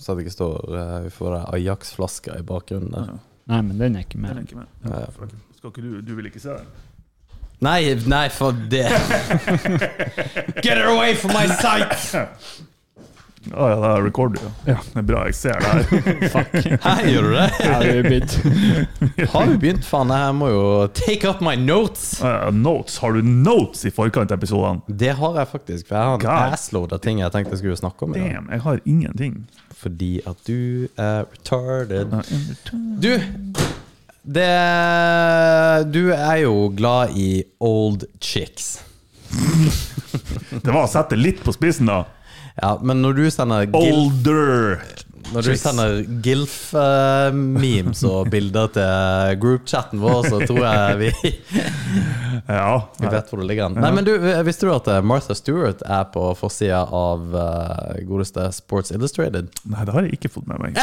Så at det ikke står eh, Vi får den Ajax-flaska i bakgrunnen der. Nei, men den er ikke Jeg med. tenker meg. Ja, ja. Skal ikke du, du vil ikke se den? Nei, nei, for det Get her away from my sight! Å ja, det er recorder, ja. Det er bra jeg ser det her. Fuck. Her gjør du det? Her er vi begynt. Har vi begynt, faen? Jeg må jo take up my notes. Å ja, notes. Har du notes i forkant av episodene? Det har jeg faktisk, for jeg har en God. assload av ting jeg tenkte jeg skulle snakke om. i dag. Damn, jeg har ingenting. Fordi at du er retarded. Ja, en return. Du det, Du er jo glad i old chicks. Det var å sette litt på spissen, da. Ja, men når du sender gilf, Older! når du sender gilf eh, memes og bilder til groupchatten vår, så tror jeg vi, Ja. vi nei. vet hvor det ligger an. Nei, men du, Visste du at eh, Martha Stewart er på forsida av eh, godeste Sports Illustrated? Nei, det har jeg ikke fått med meg.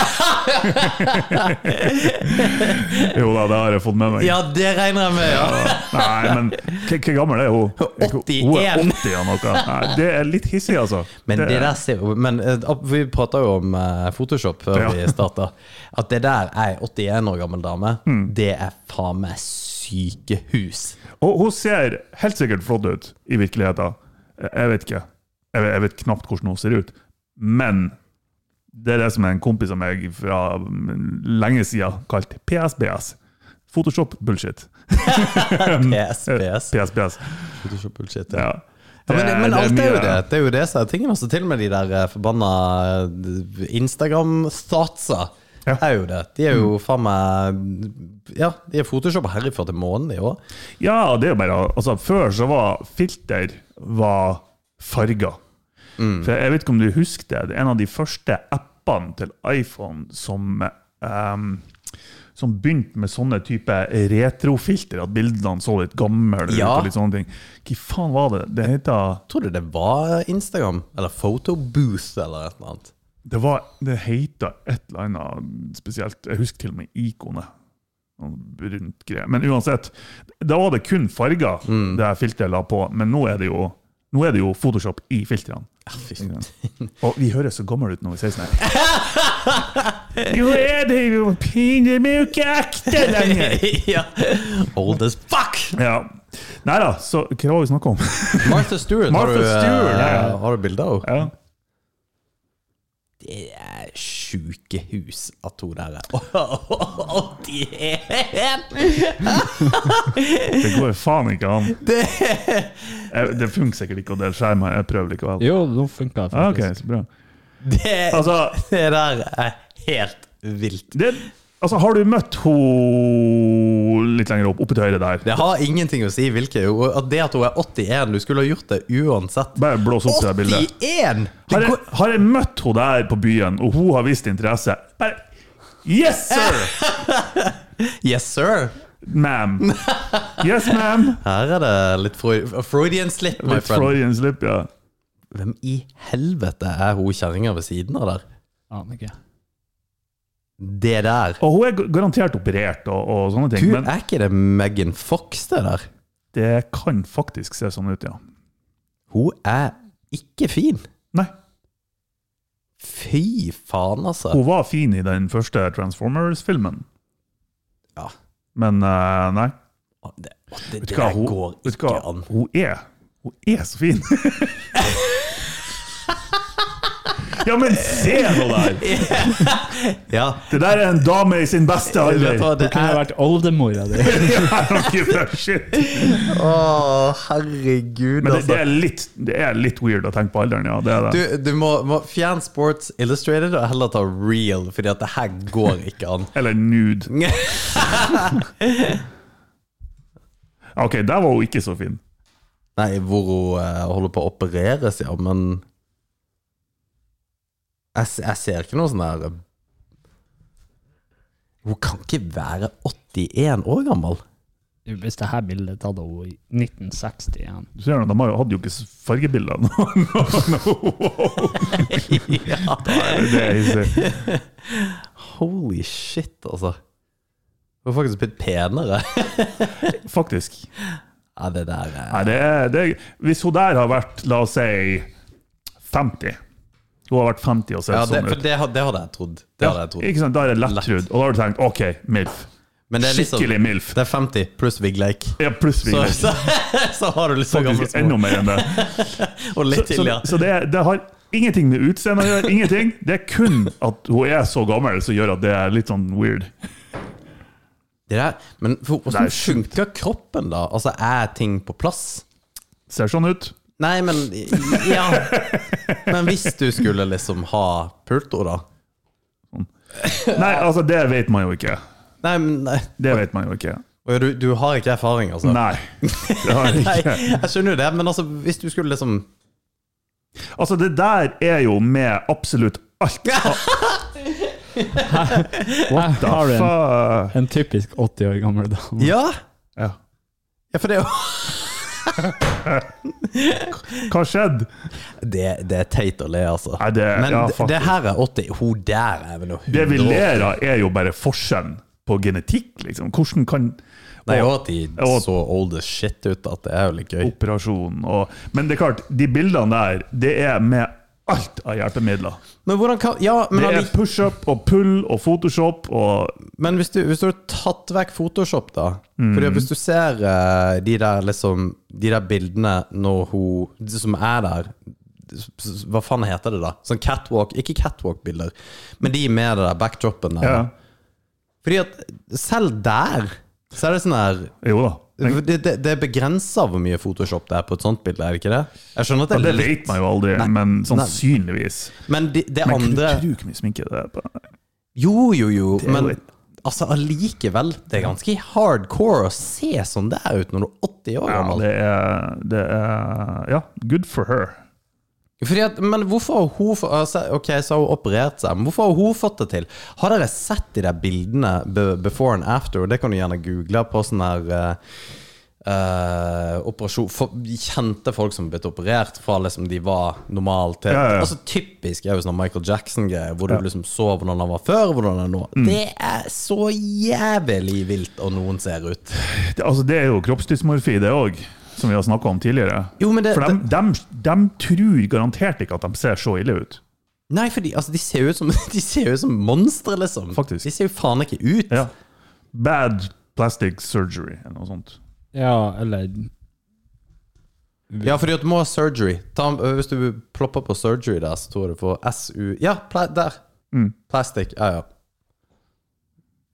jo da, det har jeg fått med meg. Ja, det regner jeg med! ja Nei, men k- hvor gammel er hun? Er ikke- Hun er 81. 80 og noe. Nei, det er litt hissig, altså. Men det der ser jo Men eh, opp- vi prata jo om eh, Photoshop før Ja. vi starta. At det der er ei 81 år gammel dame. Det er faen meg sykehus. Og hun ser helt sikkert flott ut i virkeligheten. Jeg vet ikke. Jeg vet, jeg vet knapt hvordan hun ser ut. Men det er det som en kompis av meg fra mm, lenge siden kalte PSBS. Photoshop bullshit. PSPS. PSBS. Photoshop bullshit. Mm. Ja. Ja. Ja, men, Det men Eh, det alt er jo mye- det. Det er jo det som er tingen. Også. Til og med de der eh, forbanna eh, Instagram-statsa Ja. er jo det. De er jo faen meg Ja, de er photoshoppa herifra til månen, de òg. Ja, det er jo bare altså, Før så var filter var farger. For jeg vet ikke om du husker det. det er En av de første appene til iPhone som ehm, som begynte med sånne type retrofilter, at bildene så litt gamle ut. Ja. og litt sånne ting. Hva faen var det? Det heter, Tror du det var Instagram? Eller Photobooth eller et eller annet? det var, det heter et eller annet spesielt. Jeg husker til og med ikonet. Noen Rundt greier. Men uansett, da var det kun farger det her filteret la på. Men nå er det jo, nå er det jo Photoshop i filtrene. Fy Ikke sant? Og vi høres så gamle ut når vi sier sånn her. Nå er det jo pinlig ikke ekte lenger! ja. Old as fuck! Ja. Nei da, så hva var vi snakka om? Martha Stewart, Martha har, du, eh, Stewart, ja, ja. har du bilde av henne? Ja. Det er sjukehus at hun der er 81! Det går faen ikke an. Det- Jeg, det funker sikkert ikke å dele skjerm her, jeg prøver likevel. Jo, nå funka det Ja, ok, faktisk. så bra. Det, Altså, det der er helt vilt. det, altså har du møtt hun litt lenger opp, oppe til høyre der? Det har ingenting å si hvilke. hun- at Det at hun er 81, du skulle ha gjort det uansett. Bare blås opp det der bildet. 81! Det Har jeg, går, har jeg møtt henne der på byen, og hun har vist interesse? Bare, yes, sir! yes, sir! Ma'am. Yes, ma'am. Her er det litt Freud, Freudian slip, my Litt friend. Freudian slip, ja. Hvem i helvete er hun kjerringa ved siden av der? Aner ikke. Det der. Og hun er g- garantert operert og, og sånne ting, Du, men er ikke det Megan Fox, det der? det kan faktisk se sånn ut, ja. Hun er ikke fin. Nei, Fy faen, altså. hun var fin i den første Transformers-filmen, Ja. men eh, nei. Å, Det, å, det, Vet det du hva, der hun, går vet du ikke hva, an. hun er Hun er så fin! Ja, men se nå der! Ja. Det der er en dame i sin beste Vet du hva, alder. det Kunne er ha vært oldemora di. Ja, okay, fair shit. Å, herregud, Men det, det, altså. er litt, det er litt weird å tenke på alderen, ja. Det er Du, det. du må, må fjerne Sports Illustrated og heller ta Real, fordi at det her går ikke an. Eller nude. Ah, Ok, der var hun ikke så fin. Nei, hvor hun eh, holder på å opereres, ja, men jeg, se- jeg ser ikke noe sånn der Hun kan ikke være 81 år gammel. Hvis det her bildet er tatt av henne i 1961 Du ser, jo, De har jo- hadde jo ikke s- fargebilder nå. ja. Det er hissig. Holy shit, altså. Hun er faktisk blitt penere. Faktisk. Ja, det der eh, Nei, det er, det er, hvis hun der har vært, la oss si, 50 Hun har vært 50 og sett ja, det, sånn for ut. det, had- det hadde jeg trodd. Det hadde jeg trodd. Ikke sant? Da er det lett Lett. trudd. Og da har du tenkt OK, MILF. Men det er liksom Skikkelig MILF. Det er 50 pluss Vigleik. Ja, pluss vi Så, så, så har du litt så gammel faktisk enda som mer enn det. Og Så, litt så, til, ja. så det, er- det har ingenting med utseendet å gjøre. Ingenting. Det er kun at hun er så gammel som gjør at det er litt sånn weird. Det der, men for, hvordan Det er sjukt. funker kroppen, da? Altså, er ting på plass? Ser sånn ut. Nei, men Ja. Men hvis du skulle liksom ha pulto, da? Nei, altså, det vet man jo ikke. Nei, men nei. Det vet man jo ikke. Å, Du, du har ikke erfaring, altså? Nei. Det har jeg Nei, ikke. jeg skjønner jo det, men altså, hvis du skulle liksom Altså, det der er jo med absolutt alt. Her Da har du en, fa- en typisk 80 år gammel dame. Ja! Ja. ja for det er jo Hva skjedde? det, det er teit å le, altså. Nei, det- men ja, det- det faktisk. her er 80. Hun der er vel noe Det vi 100 år. ler av, er jo bare forskjellen på genetikk, liksom. Hvordan kan Nei, og og at de og- så old as shit ut at det er jo litt gøy. operasjon og Men det er klart, de bildene der, det er med alt av hjelpemidler. Men hvordan kan Ja, men, Det er allike- pushup og pull og Photoshop og men hvis, du, hvis du har tatt vekk Photoshop, da Fordi at Hvis du ser eh, de der liksom De der bildene når hun de som er der s- s- Hva faen heter det, da? Sånn catwalk Ikke catwalk-bilder, men de med det der backdropen der. ja. Fordi at selv der så er det sånn her Jo da. Men, det, det, det begrenser hvor mye Photoshop det er på et sånt bilde, er det ikke det? Jeg skjønner at ja, det det er litt vet man jo aldri, men sannsynligvis. Men de- det Men andre tror du hvor mye sminke det er på? Jo, jo, jo, er men jo et- altså allikevel. Det er ganske hardcore å se sånn der ut når du er 80 år Ja, gammel. det er, det er Ja, good for her. Fordi at, men hvorfor har hun få- altså, Ok, så har hun operert seg, men hvorfor har hun fått det til? Har dere sett de der bildene be- before and after? Det kan du gjerne google på sånn her eh, eh, operasjon for, Kjente folk som har blitt operert fra liksom de var normale til Ja, ja. Altså Typisk er jo sånn Michael Jackson-greier, hvor du liksom så hvordan han var før, hvordan han er nå. Mm. Det er så jævlig vilt og noen ser ut. Det, altså, det er jo kroppsdysmorfi, det òg, som vi har snakka om tidligere. Jo, men det- For de, tror garantert ikke at de ser så ille ut. Nei, for de, altså, de ser jo ut som De ser jo ut som monstre, liksom. Faktisk. De ser jo faen ikke ut. Ja. Bad plastic surgery, eller noe sånt. Ja, eller Ja, fordi at du må ha surgery. Ta, ø, hvis du plopper på surgery der, så tror jeg du får SU Ja, pla der! Mm. Plastic. Ja, ja.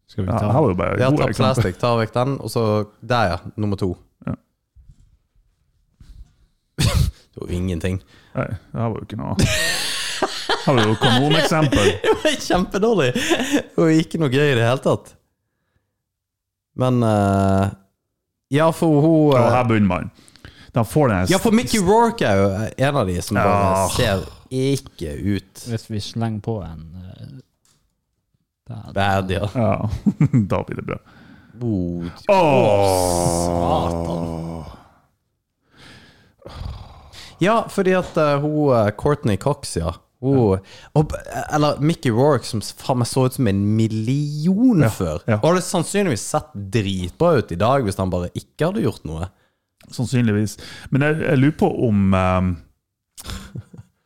Skal vi Ja, ta her var jo bare Ja, gode ta eksempler. plastic. Ta vekk den, og så Der, ja. Nummer to. Ja. det var ingenting. Nei, det her var jo ikke noe Her var jo kanoneksempel. Det var kjempedårlig! Og ikke noe gøy i det hele tatt. Men ø, Ja, for hun ø, Og her begynner man. De får den Ja, for Mickey Rourke er jo en av de som bare Ja. ser ikke ut Hvis vi slenger på en eh, der. verdig. Ja, da blir det bra. Oh, Åh. Ja, fordi at eh, hun eh, Courtney Cox, ja. Hun, og, b- eh, eller Mickey Rourke, som s- faen meg så ut som en million før. ja. Og hadde sannsynligvis sett dritbra ut i dag hvis han bare ikke hadde gjort noe. Sannsynligvis. Men jeg, jeg lurer på om eh,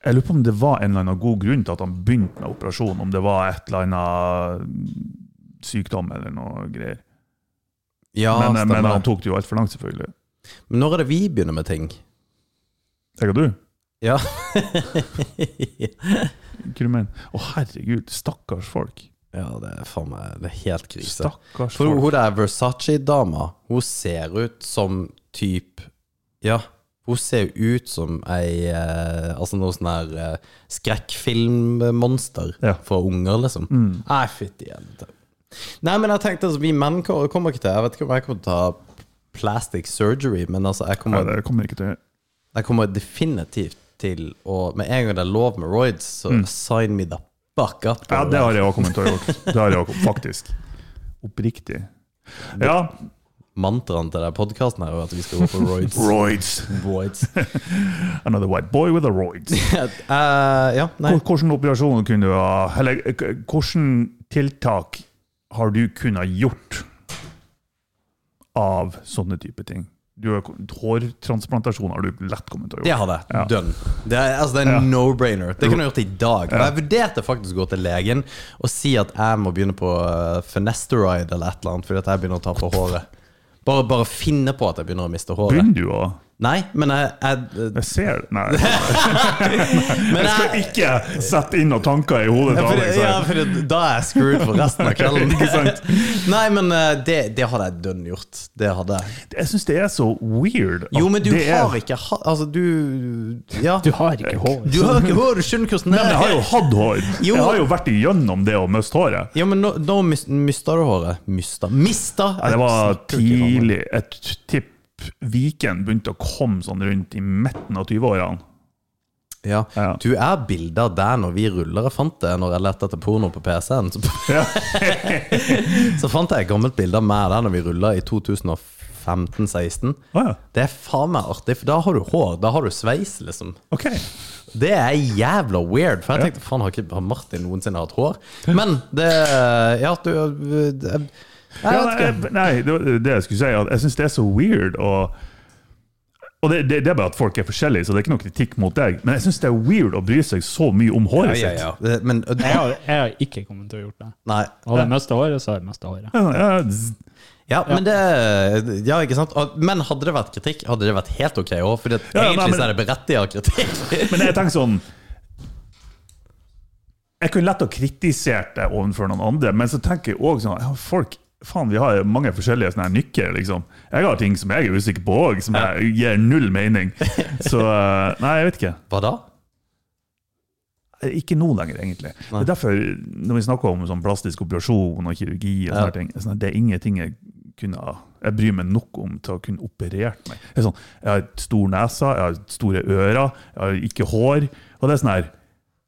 Jeg lurer på om det var en eller annen god grunn til at han begynte med operasjonen. Om det var et eller annet sykdom eller noe greier. Ja, men, eh, stemmer. men han tok det jo altfor langt, selvfølgelig. Men når er det vi begynner med ting? Tenker du? Ja. Hva du mener? Å, herregud, stakkars folk. ja, det er faen meg Det er helt krise. Stakkars For folk. hun der Versace-dama, hun ser ut som type Ja, hun ser ut som ei eh, Altså noe sånn her eh, skrekkfilmmonster Ja. for unger, liksom. Mm. Nei, fytti jente. Nei, men jeg tenkte altså, vi menn ko- kommer ikke til Jeg vet ikke om jeg kommer til å ta plastic surgery, men altså, jeg Nei, kommer, det kommer ikke til å gjøre. jeg kommer definitivt til å Med en gang det er lov med roids, så sign me the fuck up. Mm. Ja, det har jeg også kommet til å gjøre. Det har jeg også, faktisk. Oppriktig. Ja, Mantraen til den podkasten her er jo at vi skal gå for roids. roids. roids. Another white boy with a roids. Eh, ja, nei. Hvor- Hvordan operasjon kunne du ha Eller k- hvordan tiltak har du kunnet gjort av sånne type ting? Du har, hårtransplantasjon har du lett kommet til å Det gjøre. hadde jeg. Ja. Done. Det er, altså, det er en Ja. no-brainer. Det kunne jeg gjort i dag. Og jeg vurderte faktisk å gå til legen og si at jeg må begynne på uh, Fenesteride eller et eller annet, fordi at jeg begynner å ta på håret. Bare, bare finne på at jeg begynner å miste håret. Begynner du å Nei, men jeg, jeg, Jeg ser det. Nei, jeg men skal jeg ikke sette inn noen tanker i ja, hodet. til fordi, Alex ja, her. fordi da er jeg screwed for resten av kvelden. Ikke sant? Nei, men eh, det, det hadde jeg dønn gjort. Det hadde jeg. Jeg syns det er så weird. at Jo, men du det er- har ikke ha- Altså, du Ja. Du har ikke hår. Du har ikke hår, du skjønner hvordan det Nei, men jeg har jo hatt hår. Jo. Jeg har jo vært igjennom det å miste håret. Ja, men nå, nå mis- mista du håret. Mista Mista! Nei, det Jeg var snakker ikke om det. tidlig Jeg t- tipper Viken begynte å komme sånn rundt i midten av 20-årene. Ja. Ja. Du er bilde av deg når vi ruller. Jeg fant det når jeg lette etter porno på PC-en. Så, Ja. så fant jeg et gammelt bilde av meg der når vi rulla i 2015-16. Å ja. Det er faen meg artig, for da har du hår. Da har du sveis, liksom. Ok. Det er jævla weird, for jeg tenkte faen, har ikke har Martin noensinne hatt hår? Men det Ja, du det, Jeg Ja, vet ikke. nei, nei, det var det jeg skulle si. At jeg syns det er så weird å og det, det, det er bare at folk er forskjellige, så det er ikke noe kritikk mot deg. Men jeg syns det er weird å bry seg så mye om Ja, håret ja, sitt. ja. Det- Men Jeg har, jeg har ikke kommet til å gjort det. Nei. Hadde jeg mistet håret, så hadde jeg mistet håret. Ja, ja, z- Ja, men det Ja, ikke sant? Og- Men hadde det vært kritikk, hadde det vært helt ok òg. For Ja, egentlig nei, men- så er det berettiget kritikk. Men jeg tenker sånn Jeg kunne lett ha kritisert det overfor noen andre, men så tenker jeg òg sånn ja, Folk Faen, vi har mange forskjellige sånne her nykker, liksom. Jeg har ting som jeg er usikker på òg, som jeg gir null mening. Så eh, Nei, jeg vet ikke. Hva da? Eh, Ikke nå lenger, egentlig. Det er derfor, når vi snakker om sånn plastisk operasjon og kirurgi, og sånne Ja. ting, sånn at det er ingenting jeg kunne ha- jeg bryr meg nok om til å kunne operert meg. Jeg, er sånn, jeg har stor nese, jeg har store ører, jeg har ikke hår. og det er sånn her,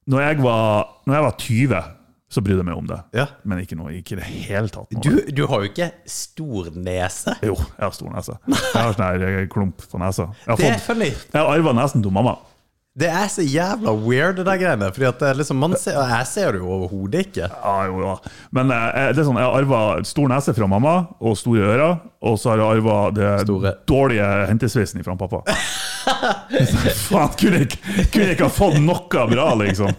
når jeg, var, når jeg var 20, så brydde jeg meg om det. Ja. Men ikke nå, ikke i det hele tatt. nå. Du, du har jo ikke stor nese. Jo, jeg har stor nese. Jeg har sånn her eh, klump på nesa. Jeg har, Det er fått- funny. jeg har arva nesen til mamma. Det er så jævla weird, det der greiene. Fordi at det er liksom, man ser, og jeg ser det jo overhodet ikke. Ja, jo, ja. Men eh, det er sånn, jeg har arva stor nese fra mamma og store ører, og så har jeg arva det Store. dårlige hentesveisen fra pappa. Så Faen, kunne jeg, ikke- kunne jeg ikke ha fått noe bra, liksom?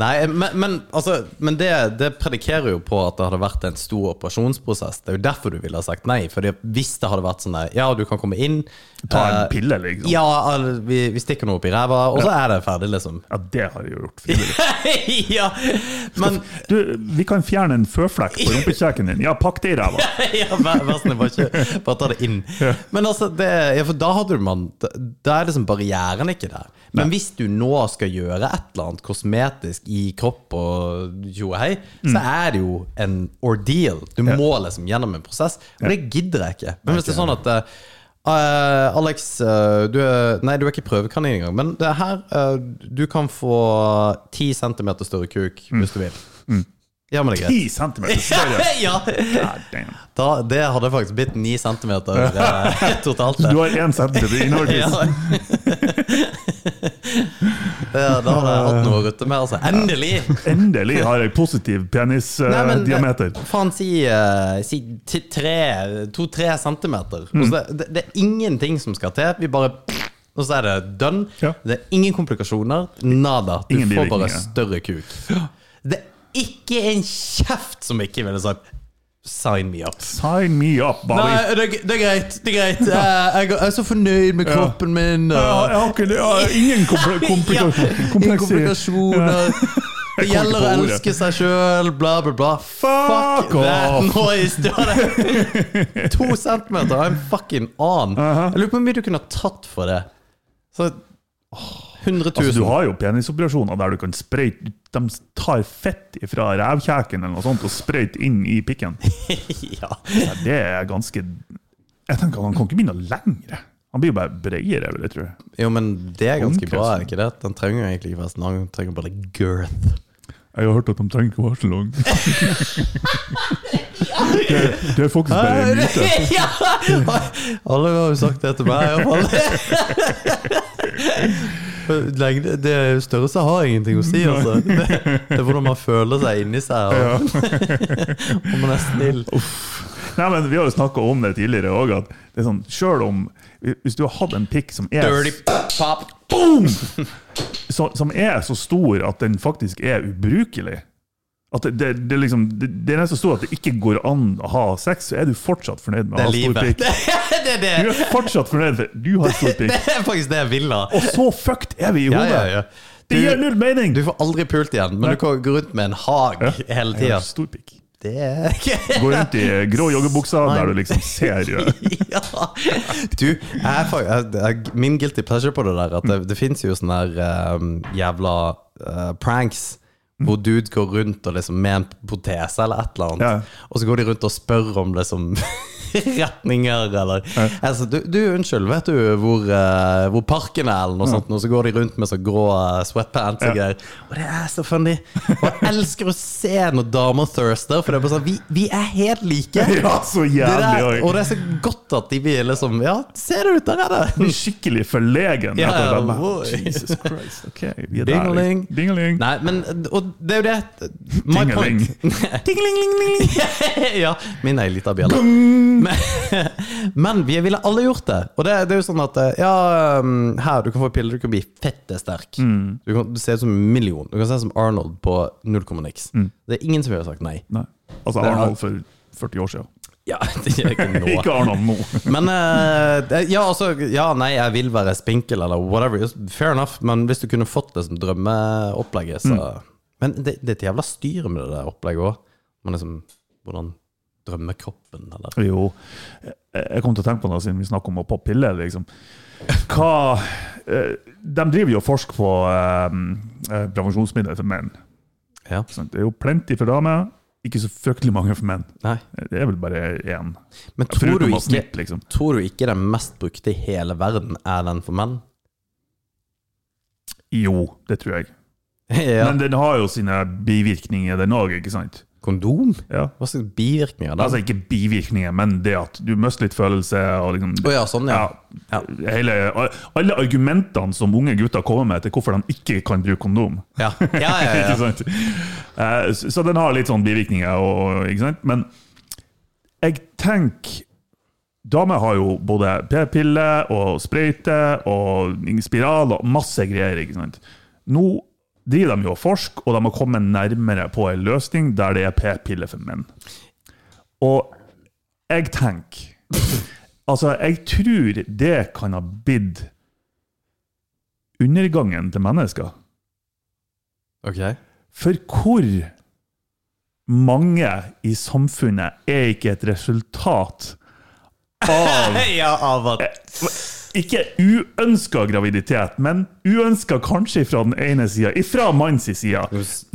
Nei, men, men, altså, men det, det predikerer jo på at det hadde vært en stor operasjonsprosess. Det er jo derfor du ville ha sagt nei. Fordi hvis det hadde vært sånn der, ja, du kan komme inn Ta en eh, pille, liksom. Ja, Ja, alle- vi, vi stikker noe opp i ræva, og så er det ferdig, liksom. det har jeg jo gjort. frivillig. ja, men Du, vi kan fjerne en føflekk på rumpekjeken din. Ja, pakk det i ræva. ja, vær, vær snill, bare, ikke, bare ta det inn. Men altså, det, ja, for da hadde du man Da da er liksom barrieren ikke der. Men hvis du nå skal gjøre et eller annet kosmetisk i kropp og jo hei, så er det jo en ordeal. Du må liksom gjennom en prosess, og det gidder jeg ikke. Men hvis det er sånn at eh, eh, Alex, eh, du er, nei, du er ikke prøvekanin engang, men det er her eh, du kan få 10 cm større kuk hvis du vil. Ja, men det er greit. Ti centimeter større. ja. God damn. Da, det hadde faktisk blitt ni centimeter eh, totalt. Du det. har én centimeter Ja. innvortes. Det, da hadde jeg hatt noe å rutte med. Altså. Endelig! Endelig har jeg positiv Nei, men, penisdiameter. eh, Faen, si, eh, si ti- tre, to-tre centimeter. Mm. Altså, det, det, det er ingenting som skal til. Vi bare Og så er det done. Ja. Det er ingen komplikasjoner. Nada. Du Ingen får bare bivirkninger. større kuk. Det er ikke en kjeft som ikke ville sagt Sign me up. Sign me up, Bali. Nei, det, er- det er greit. det er greit Eh, jeg, jeg er så fornøyd med kroppen min. Jeg har- Og jeg har ikke jeg har ingen kompl komplika ingen kompleksi- komplikasjoner. Det Jeg kommer gjelder å ikke på ordet. elske seg sjøl, bla, bla, bla. Fuck Fuck that off. noise! Det var det. To centimeter er en fucking annen. Jeg lurer på hvor mye du kunne ha tatt for det. Så 100 000. Altså, du har jo penisoperasjoner der du kan sprøyte De tar fett fra revkjeken eller noe sånt og sprøyter inn i pikken. ja. Ja, det er ganske Jeg tenker at Han kan ikke begynne lenger. Han blir jo bare bredere, vil jeg tro. Jo, men det er ganske Omkrets. bra, er ikke det? Den trenger jo egentlig ikke være så lang, den trenger bare litt girth. Jeg har hørt at de trenger ikke å være så lang. Det, det er faktisk bare en myte. Ja! Alle har jo sagt det til meg, iallfall. Lengde, det størrelse har ingenting å si, altså. Det, det er hvordan man føler seg inni seg, og, om man er snill. Nei, men Vi har jo snakka om det tidligere òg, at det er sånn, selv om Hvis du har hatt en pikk som er Dirty pop. så, som er så stor at den faktisk er ubrukelig. At det, det, det, er liksom, det, den er så stor at det ikke går an å ha sex, så er du fortsatt fornøyd med Det å er ha stor livet. pikk. Det, det, det, Du er fortsatt fornøyd med du har stor det pikk. er faktisk det jeg vil ha. Og så fucked er vi i Ja, hodet! ja, ja. Det gir Du, null mening! du får aldri pult igjen, men du kan gå rundt med en hag hele Jeg tida. har stor pikk. Det er ikke Går rundt i grå joggebukser der du liksom ser ja. ja. Du, jeg, er fa- jeg, jeg, min guilty pleasure på det der At det, det finnes jo sånne der ehm, jævla eh, pranks Hvor dude går rundt og liksom med en protese eller et eller annet Ja. Og så går de rundt og spør om liksom retninger eller altså, du, du, unnskyld, vet du hvor, eh, hvor parken er eller noe sånt Og så går de rundt med så grå eh, sweatpants og greier Og det er så funny Og jeg elsker å se når damer thirster For det er bare sånn, vi, vi er helt like ja, så det der, jævlig og òg. det er så godt at de blir liksom Ja, ser det ut der, er det? Blir skikkelig forlegen. Ja, etter det. wow. Jesus Christ, ok, vi er der. Dingeling. liksom. Dingeling. Nei, men Og det er jo det My Dingeling. point. ja, min er ei lita bjelle. Men, men vi ville alle gjort det. Og det, det er jo sånn at Ja, um, her, du kan få piller, du kan bli fette sterk. Du kan du ser ut som en million. Du kan se ut som Arnold på null komma niks. Det er ingen som ville sagt nei. Nei. Altså Det er- Arnold for 40 år siden. Ja, det er ikke nå. Ikke Arnold nå. Men eh, det- ja, altså Ja, nei, jeg vil være spinkel eller whatever. Fair enough, men hvis du kunne fått det som drømmeopplegget, så Mm. Men det, det er et jævla styr med det der opplegget òg. Men liksom Hvordan drømmekroppen, eller Jo, jeg jeg kom til å tenke på det siden vi snakker om å poppe piller. Liksom. Hva, eh, de driver jo og forsker på eh, eh, prevensjonsmidler for menn. Ja. sant? Det er jo plenty for damer, ikke så fryktelig mange for menn. Nei. Det er vel bare én. Men Ja, tror du, Foruten av ikke, snitt, liksom. tror du ikke den mest brukte i hele verden er den for menn? Jo, det tror jeg. ja. Men den har jo sine bivirkninger, den òg, ikke sant? Kondom? Ja. Hva slags bivirkninger er det? Altså ikke bivirkninger, men det at du mister litt følelse og liksom Å ja, sånn, ja. Ja, hele, alle argumentene som unge gutter kommer med til hvorfor de ikke kan bruke kondom. Ja, ja, ja, ja, ja. ikke sant? Eh, s- Så den har litt sånn bivirkninger, og, og- ikke sant? men jeg tenker Damer har jo både p-pille og sprøyte og spiral og masse greier. ikke sant? Nå driver de jo og forsker, og de har kommet nærmere på en løsning der det er p-pille for menn. Og jeg tenker Altså, jeg tror det kan ha blitt undergangen til mennesker. Ok. For hvor mange i samfunnet er ikke et resultat av Ja, av at Ikke uønska graviditet, men uønska kanskje fra den ene sida, ifra mannens side.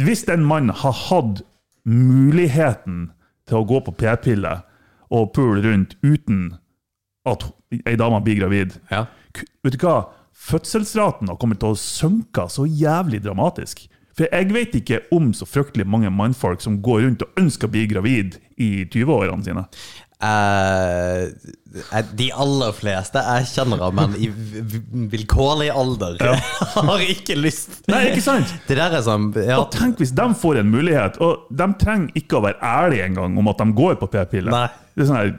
Hvis den mannen har hatt muligheten til å gå på p-piller og pule rundt uten at ei dame blir gravid Ja. K- Vet du hva? Fødselsraten har kommet til å synke så jævlig dramatisk. For jeg vet ikke om så fryktelig mange mannfolk som går rundt og ønsker å bli gravid i 20-årene sine. Eh, de aller fleste jeg kjenner av menn i v- v- vilkårlig alder, har ikke lyst. Nei, ikke sant? Det der er sånn ja, Og tenk hvis de får en mulighet, og de trenger ikke å være ærlige engang om at de går på Nei. p-piller. Det er sånn her,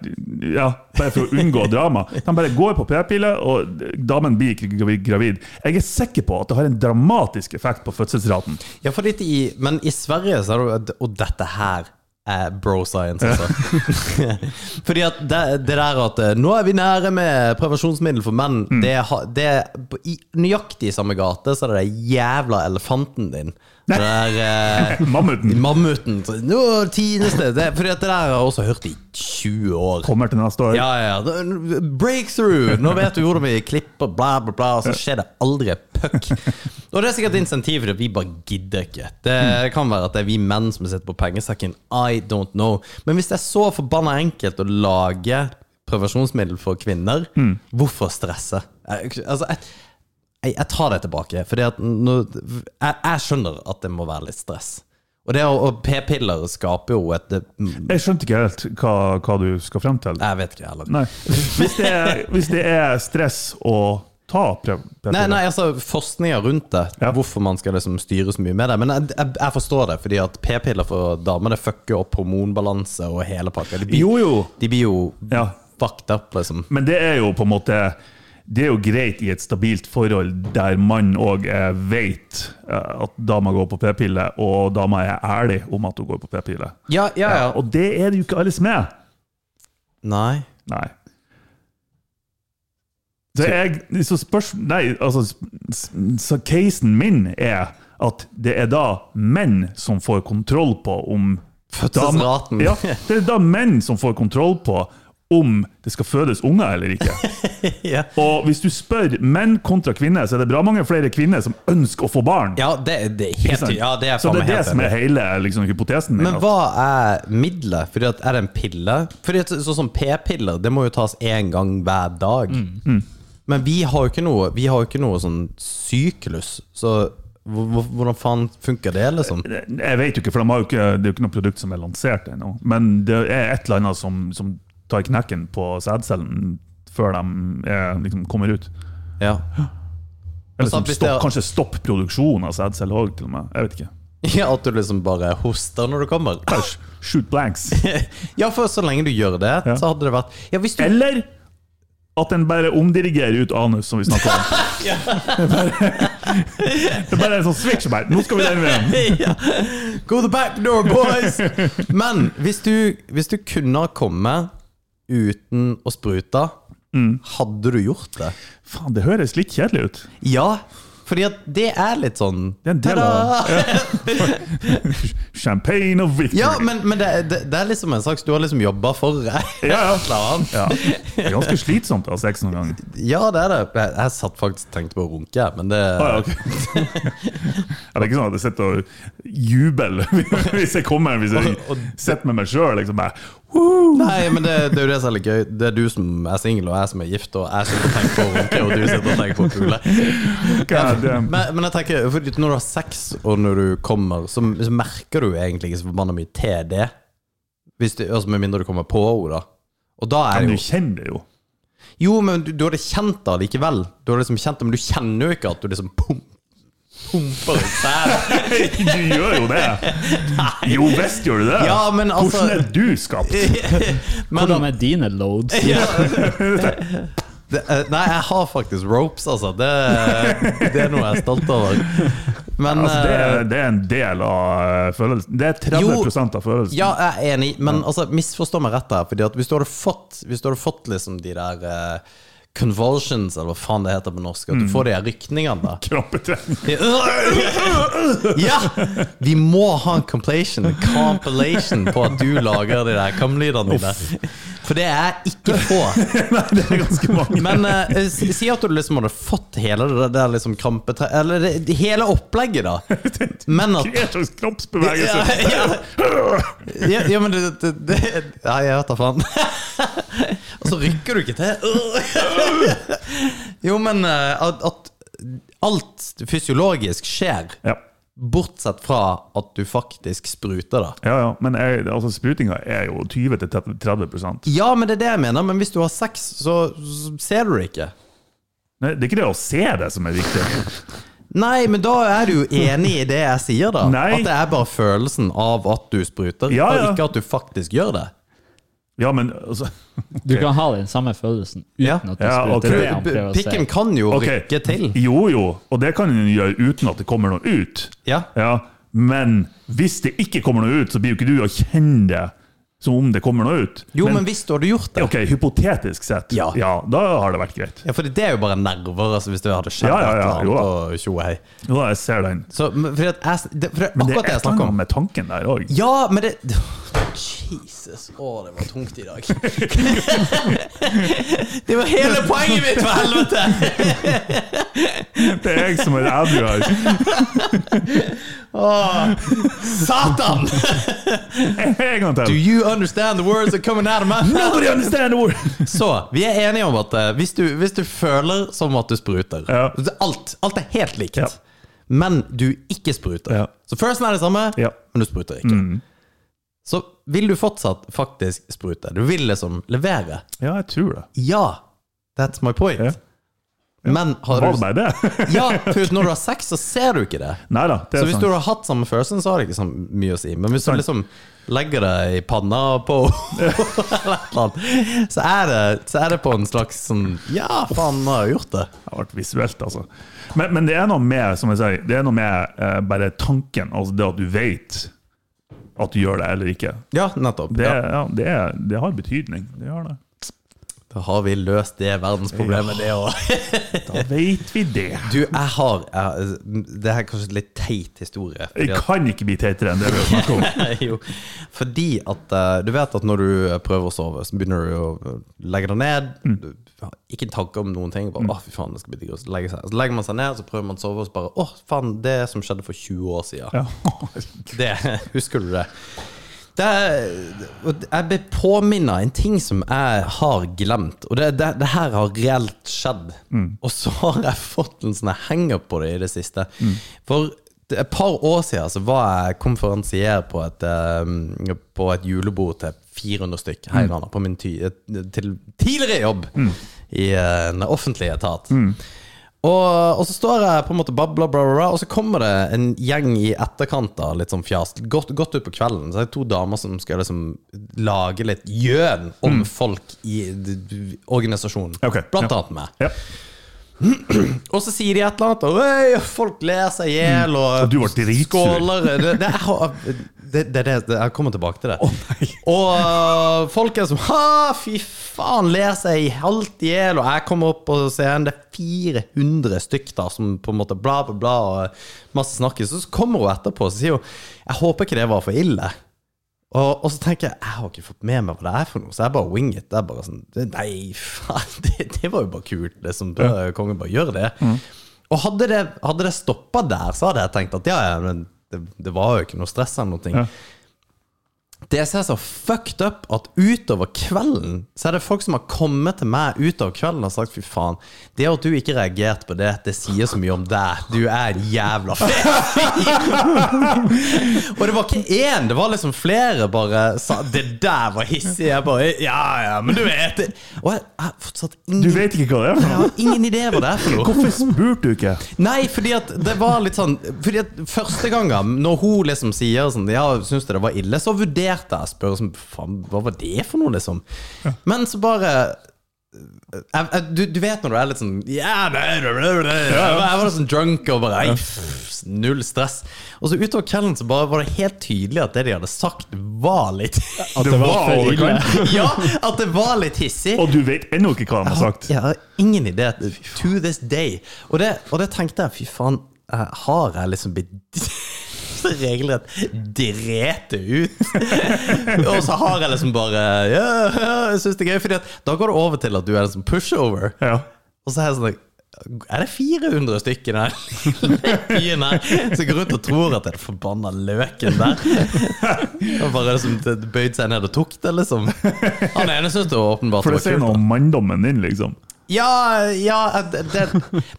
ja, Bare for å unngå drama. De bare går på p-piller, og damen blir ikke gravi- gravid. Jeg er sikker på at det har en dramatisk effekt på fødselsraten. ja, fordi at i, Men i Sverige, så er det, jo- og dette her er bro science, altså. Fordi at det, det der at eh, Nå er vi nære med prevensjonsmiddel for menn. Mm. Det, ha- det er på- i nøyaktig samme gate så er det den jævla elefanten din. Det der eh, Mammuten mammuten. så, Nå tines det. det fordi at det der har jeg også hørt i 20 år. kommer til neste år. Ja, ja. ja. Breakthrough! Nå vet du hvordan vi klipper, bla, bla, bla. Så skjer det aldri puck. Og det er sikkert insentiv for det. Vi bare gidder ikke. Det kan være at det er vi menn som sitter på pengesekken. I don't know. Men hvis det er så forbanna enkelt å lage prevensjonsmiddel for kvinner, hvorfor stresse? Jeg- Altså, jeg, jeg, jeg tar det tilbake. Fordi at nå, jeg, jeg skjønner at det må være litt stress. Og det å og p-piller skaper jo et Jeg skjønte ikke helt hva, hva du skal frem til. Jeg vet ikke, jeg heller. Nei. Hvis det er, hvis det er stress å ta prøv... Nei, nei, altså Forskninga rundt det, Ja. hvorfor man skal liksom styre så mye med det. Men jeg, jeg, jeg forstår det, fordi at p-piller for damer Det fucker opp hormonbalanse og hele pakka. De blir Jo, jo. de blir jo Ja. fucked up, liksom. Men det er jo på en måte Det er jo greit i et stabilt forhold der man òg vet eh, at dama går på p-pille, og dama er ærlig om at hun går på p-pille. Ja, ja, ja. Og det er det jo ikke alle som er. Nei. Nei. Så, jeg, så spørs... Nei, altså s- s- Så casen min er at det er da menn som får kontroll på om Fødselsraten. Ja, det er da menn som får kontroll på om det skal fødes unger eller ikke. Ja. Og hvis du spør menn kontra kvinner, så er det bra mange flere kvinner som ønsker å få barn. Ja, det, det er Ikke helt sant? Ja, det er så faen det meg er det helt som enig. er hele liksom, hypotesen min. Men at- hva er middelet? Fordi at, er det en pille? Fordi at, Sånn som p-piller, det må jo tas én gang hver dag. Men vi har jo ikke noe Vi har jo ikke noe sånn syklus, så hvor- hvor- hvordan faen funker det, liksom? Jeg vet jo ikke, for de har jo ikke, det er jo ikke noe produkt som er lansert ennå. Men det er et eller annet som, som tar knekken på sædcellen før de er, liksom, kommer ut. Ja. Eller som sant, hvis det stopp, er- kanskje stopp produksjonen av sædceller òg, til og med. Jeg vet ikke. ja, at du liksom bare hoster når du kommer. Æsj, Shoot blanks. Ja, for så lenge du gjør det, Ja. så hadde det vært Ja, hvis du Eller at den bare omdirigerer ut anus, som vi snakka om. Det er bare, det er bare en sånn switch. Bare. Nå skal vi den veien. ja. Go the back door, boys! Men hvis du, hvis du kunne ha kommet uten å sprute, hadde du gjort det? Faen, det høres litt kjedelig ut. Ja, fordi at det er litt sånn Det er en del av- Champagne of victory. Ja, men, men det, det, det er liksom en slags du har liksom jobba for. Et ja, ja. eller annet. Ja. Det er ganske slitsomt å ha sex noen ganger. Ja, det er det. Jeg, jeg satt faktisk og tenkte på å runke, men det Ah, ja, ok. Ja, det er ikke sånn at jeg sitter og jubler hvis jeg kommer, hvis jeg sitter med meg sjøl. Liksom bare, «Woo!» Nei, men det, det er jo det som er litt gøy. Det er du som er singel, og jeg som er gift, og jeg sitter og tenker på å runke, og du sitter og tenker på å pule. God damn. Men, men jeg tenker, fordi når du har sex, og når du kommer, så, så merker du egentlig ikke så forbanna mye til det. Hvis du, altså, med mindre du kommer på henne, da. Og da er Men det du jo kjenner det jo. Jo, men du, du hadde kjent det likevel. Du hadde liksom kjent det, men du kjenner jo ikke at du liksom pum, pumper ut sæd. Du gjør jo det! Jo visst gjør du det! Ja, men altså- Eh, Hvordan er du skapt? Men Hvordan er dine loads? det, eh, Nei, jeg har faktisk ropes, altså. Det, det er noe jeg er stolt over. Men Altså, det, eh, er, det er en del av eh, følelsen. Det er 30 av følelsen. Ja, jeg er enig, men altså, misforstå meg rett her. Fordi at hvis du hadde fått, hvis du hadde fått liksom de der eh, convulsions, eller hva faen det heter på norsk, at du får de her rykningene da Krampetrening. Ja! Vi må ha en compilation, compilation på at du lager de der kamlydene dine. For det er ikke få. Nei, det er ganske mange. Men eh, s- si at du liksom hadde fått hele det der liksom krampetre... Eller det, hele opplegget, da. Men at Hva er slags kroppsbevegelse? ja, ja, ja, men det, det, det Nei, jeg vet da faen. Og så rykker du ikke til. Jo, men eh, at, at alt fysiologisk skjer, Ja. bortsett fra at du faktisk spruter det. Ja, ja, men jeg, altså, sprutinga er jo 20-30 Ja, men det er det jeg mener, men hvis du har sex, så så ser du det ikke. Nei, Det er ikke det å se det som er viktig. Nei, men da er du jo enig i det jeg sier, da. Nei. At det er bare følelsen av at du spruter, Ja, ja. og ikke at du faktisk gjør det. Ja, men altså, Du kan ha den samme følelsen uten Ja. at du Ja, spruter. ok. Det er det han prøver å si. Pikken kan jo ok. rykke til. Jo, jo, og det kan en gjøre uten at det kommer noe ut. Ja. Ja, Men hvis det ikke kommer noe ut, så blir jo ikke du å kjenne det som om det kommer noe ut. Jo, men, hvis du hadde gjort det. Ok, hypotetisk sett, Ja. da har det vært greit. Ja, for det er jo bare nerver, altså, hvis det hadde skjedd Ja, ja, ja, et jo eller da. annet. Og tjo og hei. Jo, jeg ser den. Så, men fordi at jeg, det, for det, er Men det akkurat det jeg er et eller snakker annet om. med tanken der òg. Ja, men det Jesus, å, det var tungt i dag. det var hele poenget mitt, for helvete! Det er jeg som er ædru her. Satan! En gang Do til. you understand the words that are coming out of my mouth? Nobody understand a word! Så, vi er enige om at eh, hvis, du, hvis du føler som at du spruter Ja. alt, alt er helt likt, Ja. men du ikke spruter. Ja. Så følelsen er det samme, Ja. Mm. men du spruter ikke. Så vil du fortsatt faktisk sprute. Du vil liksom levere. Ja, jeg tror det. Ja, that's my point. Ja. Men har Var det du, bare det? ja, for når du har sex, så ser du ikke det. Nei da, det Så er sånn, hvis sant. du har hatt samme følelsen, så har det ikke så mye å si. Men hvis du Sant. liksom legger det i panna på eller et eller annet, så er det, så er det på en slags sånn Ja, faen, nå har jeg gjort det. Det har vært visuelt, altså. Men, men det er noe med som jeg sier, det er noe med eh, bare tanken, altså det at du vet at du gjør det eller ikke. Ja, nettopp. Det, Ja. ja, det, er, det har betydning. Det gjør det. Da har vi løst det verdensproblemet, det òg. Da vet vi det. Du, jeg har jeg, Det her er kanskje en litt teit historie. fordi Jeg at- kan ikke bli teitere enn det vi har snakket om. jo, fordi at eh, du vet at når du eh, prøver å sove, så begynner du å eh, legge deg ned. Du har ikke en tanke om noen ting. Bare, «Åh, fy faen, det skal bli digg å legge seg. Så legger man seg ned, så prøver man å sove, og så bare Å, faen, det som skjedde for 20 år siden. Ja. Det, husker du det? Det er, og jeg ble påminnet en ting som jeg har glemt. Og det, det, det her har reelt skjedd. Og så har jeg fått en sånn henger på det i det siste. For det- et par år siden så var jeg konferansier på et, eh, på et julebord til 400 stykk her i landet. På min ty, til tidligere jobb i en offentlig etat. Og, og så står jeg på en måte babla, bla, bla, bla, og så kommer det en gjeng i etterkant da, litt sånn fjas. Godt, godt ut på kvelden. Så er det to damer som skal liksom lage litt gjøn om folk i d- d- organisasjonen. Mm. Ok, Blant ja. annet meg. Ja. Og så sier de et eller annet, og «Øy, folk ler seg i hjel, og, Mm. Og du var dritsur. skåler det, det, jeg har- det, det, det, det, Jeg kommer tilbake til det. og øh, folk er som Ha, fy faen, ler seg i halvt i hjel, og jeg kommer opp på scenen, det er 400 stykk da, som på en måte bla, bla, bla, og masse snakkes. Og så kommer hun etterpå og sier hun Jeg håper ikke det var for ille. Og, og så tenker jeg jeg har ikke fått med meg hva det er for noe, så jeg bare wing it. Det er bare sånn, det- Nei, faen, det, det var jo bare kult. Liksom. Da- Kongen bare gjør det. Og hadde det, hadde det stoppa der, så hadde jeg tenkt at ja, ja, men det, det var jo ikke noe stress eller noe. ting. Ja. Det som er så fucked up, at utover kvelden så er det folk som har kommet til meg utover kvelden og sagt fy faen, det at du ikke reagerte på det, det sier så mye om deg. Du er en jævla fet fyr. og det var ikke én, det var liksom flere bare sa det der var hissig. Jeg bare ja ja, men du vet det. Og jeg jeg har fortsatt Du ingen, vet ikke hva det er for jeg noe? har ingen idé hva det er for noe. Hvorfor spurte du ikke? Nei, fordi at det var litt sånn Fordi at første gangen, når hun liksom sier sånn Ja, syns du det var ille? Så vurderte jeg å spørre sånn Faen, hva var det for noe, liksom? Men så bare jeg, jeg, du, du vet når du er litt sånn Ja, nei, nei, nei, nei. Jeg var litt sånn drunk og bare nei, pff, Null stress. Og så utover kvelden så bare var det helt tydelig at det de hadde sagt, var litt At Det var for overkant. Ja, at det var litt hissig. Og du vet ennå ikke hva de har sagt? Jeg har ingen idé to this day. Og det, og det tenkte jeg, fy faen, eh, har jeg liksom blitt så regelrett drete ut? og så har jeg liksom bare Ja, ja, jeg syns det er gøy. Fordi at da går det over til at du er liksom pushover. Ja. Og så er jeg sånn er det 400 stykker i den lille byen her som går rundt og tror at det er den forbanna løken der? Og bare liksom bøyd seg ned og tok det, liksom. Han ene syntes det var åpenbart For det var sier kult. noe om manndommen din, liksom. Ja, ja det, det.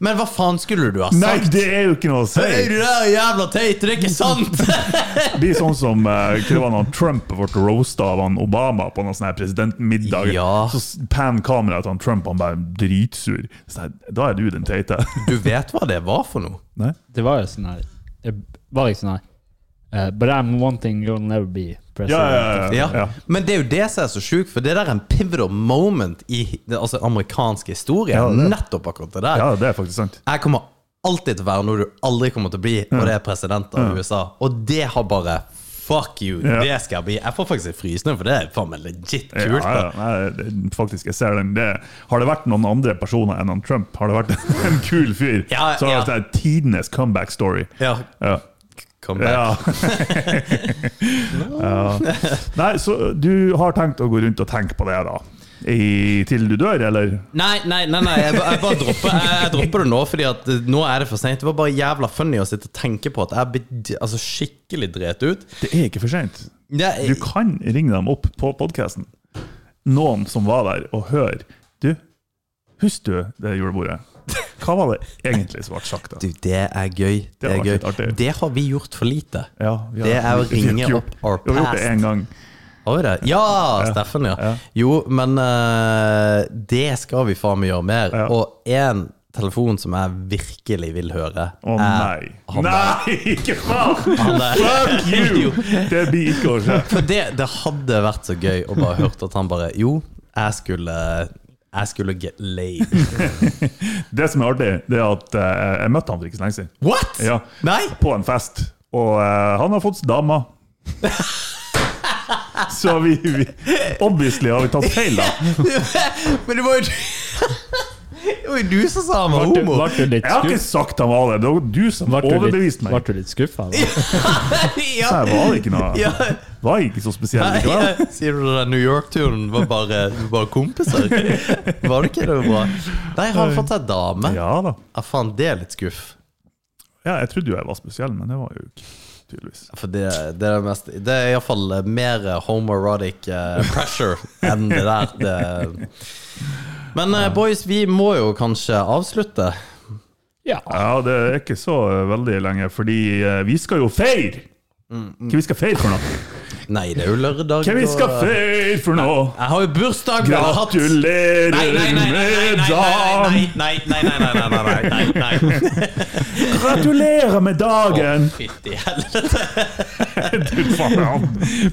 Men hva faen skulle du ha sagt? Nei, det er jo ikke noe å Hører si! du det, jævla teit? Det er ikke sant! Det blir sånn som eh, hva det var når Trump ble roasta av han Obama på noen sånn her presidentmiddag. Ja. Så s- pan kameraet til han Trump, han bare dritsur. Så jeg, da er du den teite. Du vet hva det var for noe? Nei? Det var jo sånn her Det var liksom sånn her eh, But I'm one thing you'll never be. Ja, ja, ja, ja, Ja. ja. Men det er jo det som er så sjukt, for det der er en pivotal moment i den altså, amerikanske historien. Ja, det er det. Nettopp akkurat det der. Ja, det er faktisk sant. Jeg kommer alltid til å være noe du aldri kommer til å bli, og det er president av USA. Og det har bare Fuck you, Ja. det skal jeg bli. Jeg får faktisk litt frysninger, for det er faen meg legit kult. Ja, ja, nei, det- faktisk, jeg ser den. Det, har det vært noen andre personer enn han Trump, har det vært en kul fyr, Ja, så har ja. det vært tidenes comeback-story. Ja, Ja. come back. Ja. ja. Nei, så du har tenkt å gå rundt og tenke på det, da? I, til du dør, eller? Nei, nei, nei, nei jeg, ba- jeg bare dropper, jeg, jeg dropper det nå, Fordi at eh, nå er det for sent. Det var bare jævla funny å sitte og tenke på at jeg er blitt altså, skikkelig dret ut. eh, Det er ikke for seint. Jeg, Du kan ringe dem opp på podkasten. Noen som var der, og høre Du, husker du det julebordet? Hva var det egentlig som ble sagt da? du, det er gøy. Det, Det var er gøy. litt artig. det har vi gjort for lite. Ja, vi har- Det er å vi- vi har ringe gjort- opp our Vi har gjort det past. én gang. Har vi det? Ja, Steffen, ja. Ja. Jo, men eh, det skal vi faen meg gjøre mer. Ja. Og én telefon som jeg virkelig vil høre, Å nei. Eh, han der. Nei, ikke faen! Han der. Fuck you! Jo. Det blir ikke å skje. For det, det hadde vært så gøy å bare hørt at han bare Jo, jeg skulle Jeg skulle get laid. Det som er artig, det er at eh, jeg møtte han for ikke så lenge siden. What?! Ja. Nei! På en fest. Og eh, han har fått dama. Så vi, vi Obviously har vi tatt feil, da. Men det var jo du Det var jo du som sa han var Ble du- homo! ble du litt Jeg har ikke skuff- sagt han var det. Det var du som ble du litt- overbeviste ble meg. du litt skuffa? ja. Nei, var det ikke noe Ja. Var ikke så spesiell Nei, likevel. ja. Sier du den New York-turen var bare, bare kompiser? Var det ikke det bra? Nei, har han fått seg dame? Ja. Ja da. faen, det er litt skuff. Ja, jeg trodde jo jeg var spesiell, men det var jo ikke tydeligvis. For det, det er det mest Det er iallfall mer homoerotic eh, pressure enn det der. Det. Men eh, boys, vi må jo kanskje avslutte. Ja. Ja, det er ikke så eh, veldig lenge, fordi eh, vi skal jo feire! Mm, Hva vi skal feire for noe? Nei, det er jo lørdag. Hva vi og- skal feire for noe? Jeg har jo bursdag! jeg har hatt- Gratulerer Nei, nei, nei, nei, nei, med nei, dagen! nei, nei, nei, nei, nei, nei, nei, nei, nei, nei, nei. Gratulerer med dagen! Fytti helvete. Du faen.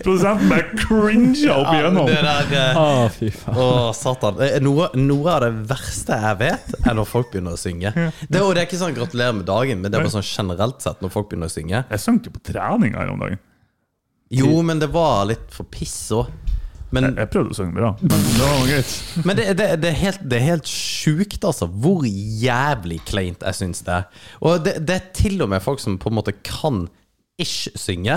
Produsenten bare cringa opp igjennom. Det der eh, Å, fy faen. Å, satan. Eh, Noe, noe av det verste jeg vet, er når folk begynner å synge. Det, og det er ikke sånn 'gratulerer med dagen', men det er bare sånn generelt sett når folk begynner å synge. Jeg sang jo på trening her om dagen. Jo, men det var litt for piss òg. Men, Jeg prøvde å synge bra, men det var noe greit. men det, det, det, er helt, det er helt sjukt, altså. Hvor jævlig kleint jeg syns det er. Og det, det er til og med folk som på en måte kan ish synge.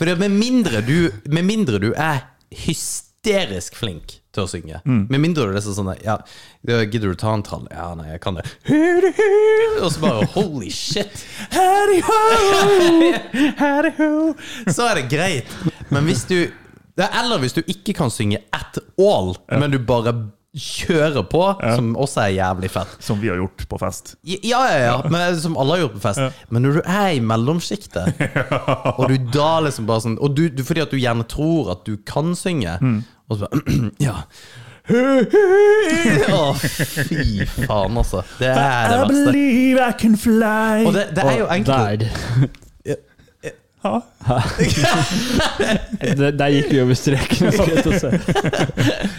For det, med, mindre du, med mindre du er hysterisk flink til å synge Med mindre du er sånn sånn ja, Gidder du ta en trall? Ja, nei, jeg kan det. Og så bare holy shit! Så er det greit. Men hvis du ja, Eller hvis du ikke kan synge at all, men du bare kjører på, som også er jævlig fett. Som vi har gjort på fest. Ja, ja, ja, men, eh, som alle har gjort på fest. Men når du er i mellomsjiktet, og du da liksom bare sånn og du, du, Fordi at du gjerne tror at du kan synge, og så bare Ja. Å, fy faen, altså. Det er det I verste. believe I can fly. Og det, det er jo egentlig Der. Ja. Der der gikk vi over streken. skulle jeg til å si.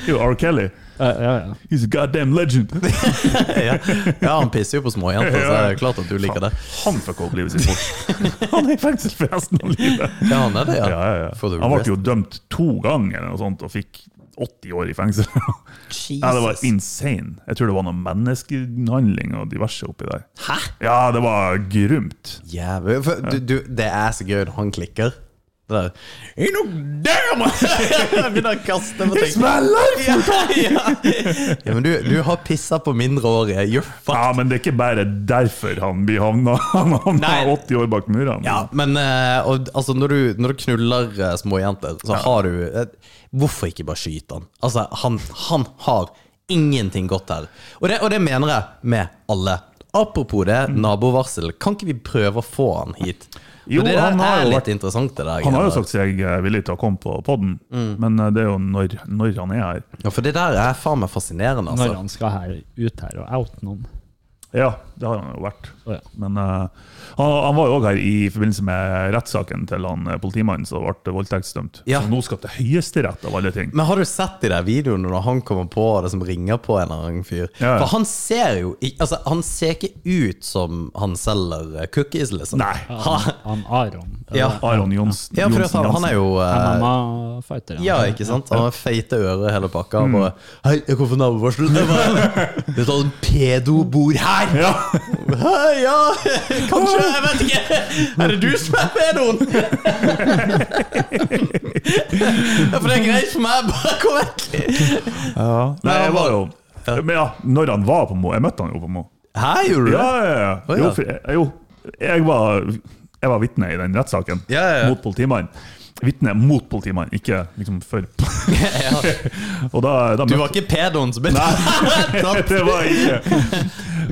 Jo, R. Kelly. Ja, ja, ja. He's a goddamn legend. ja, ja, han pisser jo på småjenter, så det er jo klart at du liker det. Han fucka opp livet sitt fort. Han er i fengsel for resten av livet. Ja, han er det, ja. Ja, ja, ja. For the Han ble rest. jo dømt to ganger eller noe sånt, og fikk 80 år i fengsel. Ja, det var Jesus. insane. Jeg tror det var noe menneskehandling og diverse oppi der. Hæ? Ja, det var grumt. Jævlig. For, du, du, det er så gøy når han klikker. Det der You know, damn! Jeg Begynner å kaste på ting. Ja, ja. ja, men du, du har pissa på mindreårige. You're fucked. Ja, men det er ikke bare derfor han blir havna. Han havna Nei. 80 år bak murene. Ja, men eh, og, altså, når, du, når du knuller eh, små jenter, så har du eh, Hvorfor ikke bare skyte han? Altså, han, han har ingenting godt her. Og det, og det mener jeg med alle. Apropos det, nabovarsel. Kan ikke vi prøve å få han hit? For Mm. Jo, det der han har er jo litt vært- interessant, det der. Han har jo greiene sagt seg eh, villig til å komme på poden, Mm. men eh, det er jo når, når han er her. der. Ja, for det der er faen meg fascinerende, Når altså. han skal her, ut her og out noen. Ja, det har han jo vært. Å, ja. Men eh, han, han var jo òg her i forbindelse med rettssaken til han eh, politimannen som ble voldtektsdømt. Ja. Mm, Som nå skal til Høyesterett, av alle ting. Men har du sett de der videoene når han kommer på det som ringer på en eller annen fyr? Ja, ja. For han ser jo i- altså, Han ser ikke ut som han selger eh, cookies, liksom. Nei. Ha, Han Aron. ja. Aron Johnsen. ja, for det, Johnsen han, han er jo eh, MMA-fighter. Ja, ikke sant? Han har feite ører hele pakka. Mm. Og bare 'Hei, jeg kom fra nabovarselet.' Jeg bare, 'Vet du at en pedo bor her?' Ja. Hei, ja, kanskje. Jeg vet ikke. Er det du som er pedoen? ja, for det er greit for meg. Bare kom vekk. Nei, jeg var jo Ja. Men ja, når han var på Mo Jeg møtte han jo på Mo. Hæ, gjorde du det? Ja, ja, ja. Å, ja. Jo, for, jeg- jo jeg var, jeg var vitne i den rettssaken Ja, ja, ja. mot politimannen. Vitne mot politimannen, ikke liksom for Og da, da Du møtte- var ikke pedoen som ble tatt? det var jeg ikke.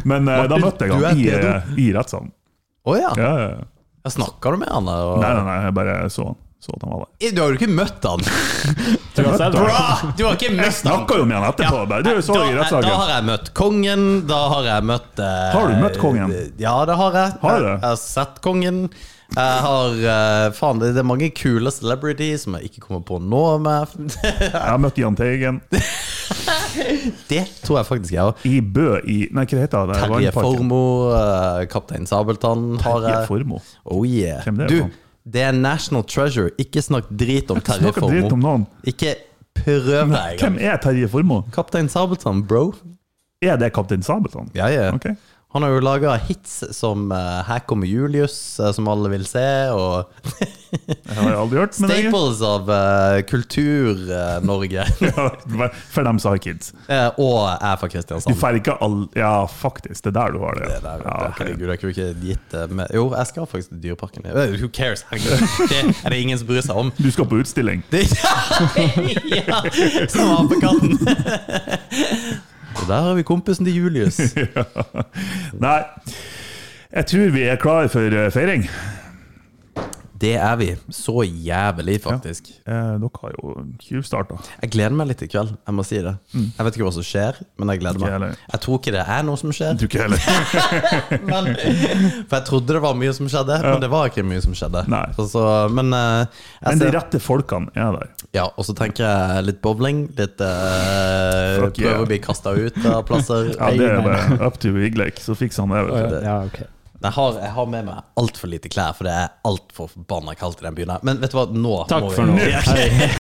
Men eh, da Martin, møtte jeg du er han i, pedo. eh, i rettssalen. Å ja. Ja, ja, ja. Jeg Snakka du med han? der, Nei, Og... nei, nei, jeg bare så han. Så at han var der. Du har jo ikke møtt han. Jeg møtte Bra! han. Du har ikke Jeg møtt han. snakka jo med han etterpå. Bare. Du så da, i da rettssaken. har jeg møtt kongen, da har jeg møtt eh, Har du møtt kongen? Ja, det har jeg. Har Jeg, du det? jeg har sett kongen. Jeg har eh, Faen, det det er mange kule celebrities som jeg ikke kommer på nå. Men Jeg møtte Jahn Teigen det tror jeg faktisk jeg har. i Bø i Nei, hva heter det? Terje Vannparken. Formoe, eh, Kaptein Sabeltann har Terje jeg. Formoe. Oh yeah. Hvem det er Du, for noe? det er National Treasure. Ikke snakk drit om Terje Snakker dritt om Formoe. noen. Ikke prøv deg engang. Hvem er Terje Formoe? Kaptein Sabeltann, bro. Er det Kaptein Sabeltann? Ja, ja. Ok. Han har jo laga hits som eh, 'Her kommer Julius', eh, som alle vil se, og Det har jeg aldri hørt. Men jeg, staples av eh, Kultur-Norge. ja, for dem som har kids. Eh, og er fra Du Kristiansand. får ikke all Ja, faktisk. Det er der du har det. Det der, ja, ok. Herregud, jeg kunne ikke gitt det med Jo, jeg skal faktisk til Dyreparken. Eh, Who cares? Herregud, det er det ingen som bryr seg om. Du skal på utstilling. Det, ja, som apekatten. Og der har vi kompisen til Julius. Nei. Jeg tror vi er klare for eh, feiring. Det er vi. Så jævlig, faktisk. Eh, dere har jo tjuvstarta. Jeg gleder meg litt i kveld, jeg må si det. Jeg vet ikke hva som skjer, men jeg gleder Mm. Ikke heller. meg. Jeg tror ikke det er noe som skjer, Du ikke heller. men, for jeg trodde det var mye som skjedde, men det var ikke mye som skjedde. Nei. Og så- men eh, jeg Men de ser, rette folkene er der. ja, og så tenker jeg litt bowling, litt eh, Fuck prøve yeah. å bli kasta ut av plasser. Ja, det er bare up to Vigleik, så fikser han det. vet du. Ja, ok. Jeg har, jeg har med meg altfor lite klær, for det er altfor forbanna kaldt i den byen her. Men vet du hva, nå Takk må vi- for nå. Ja, Hei.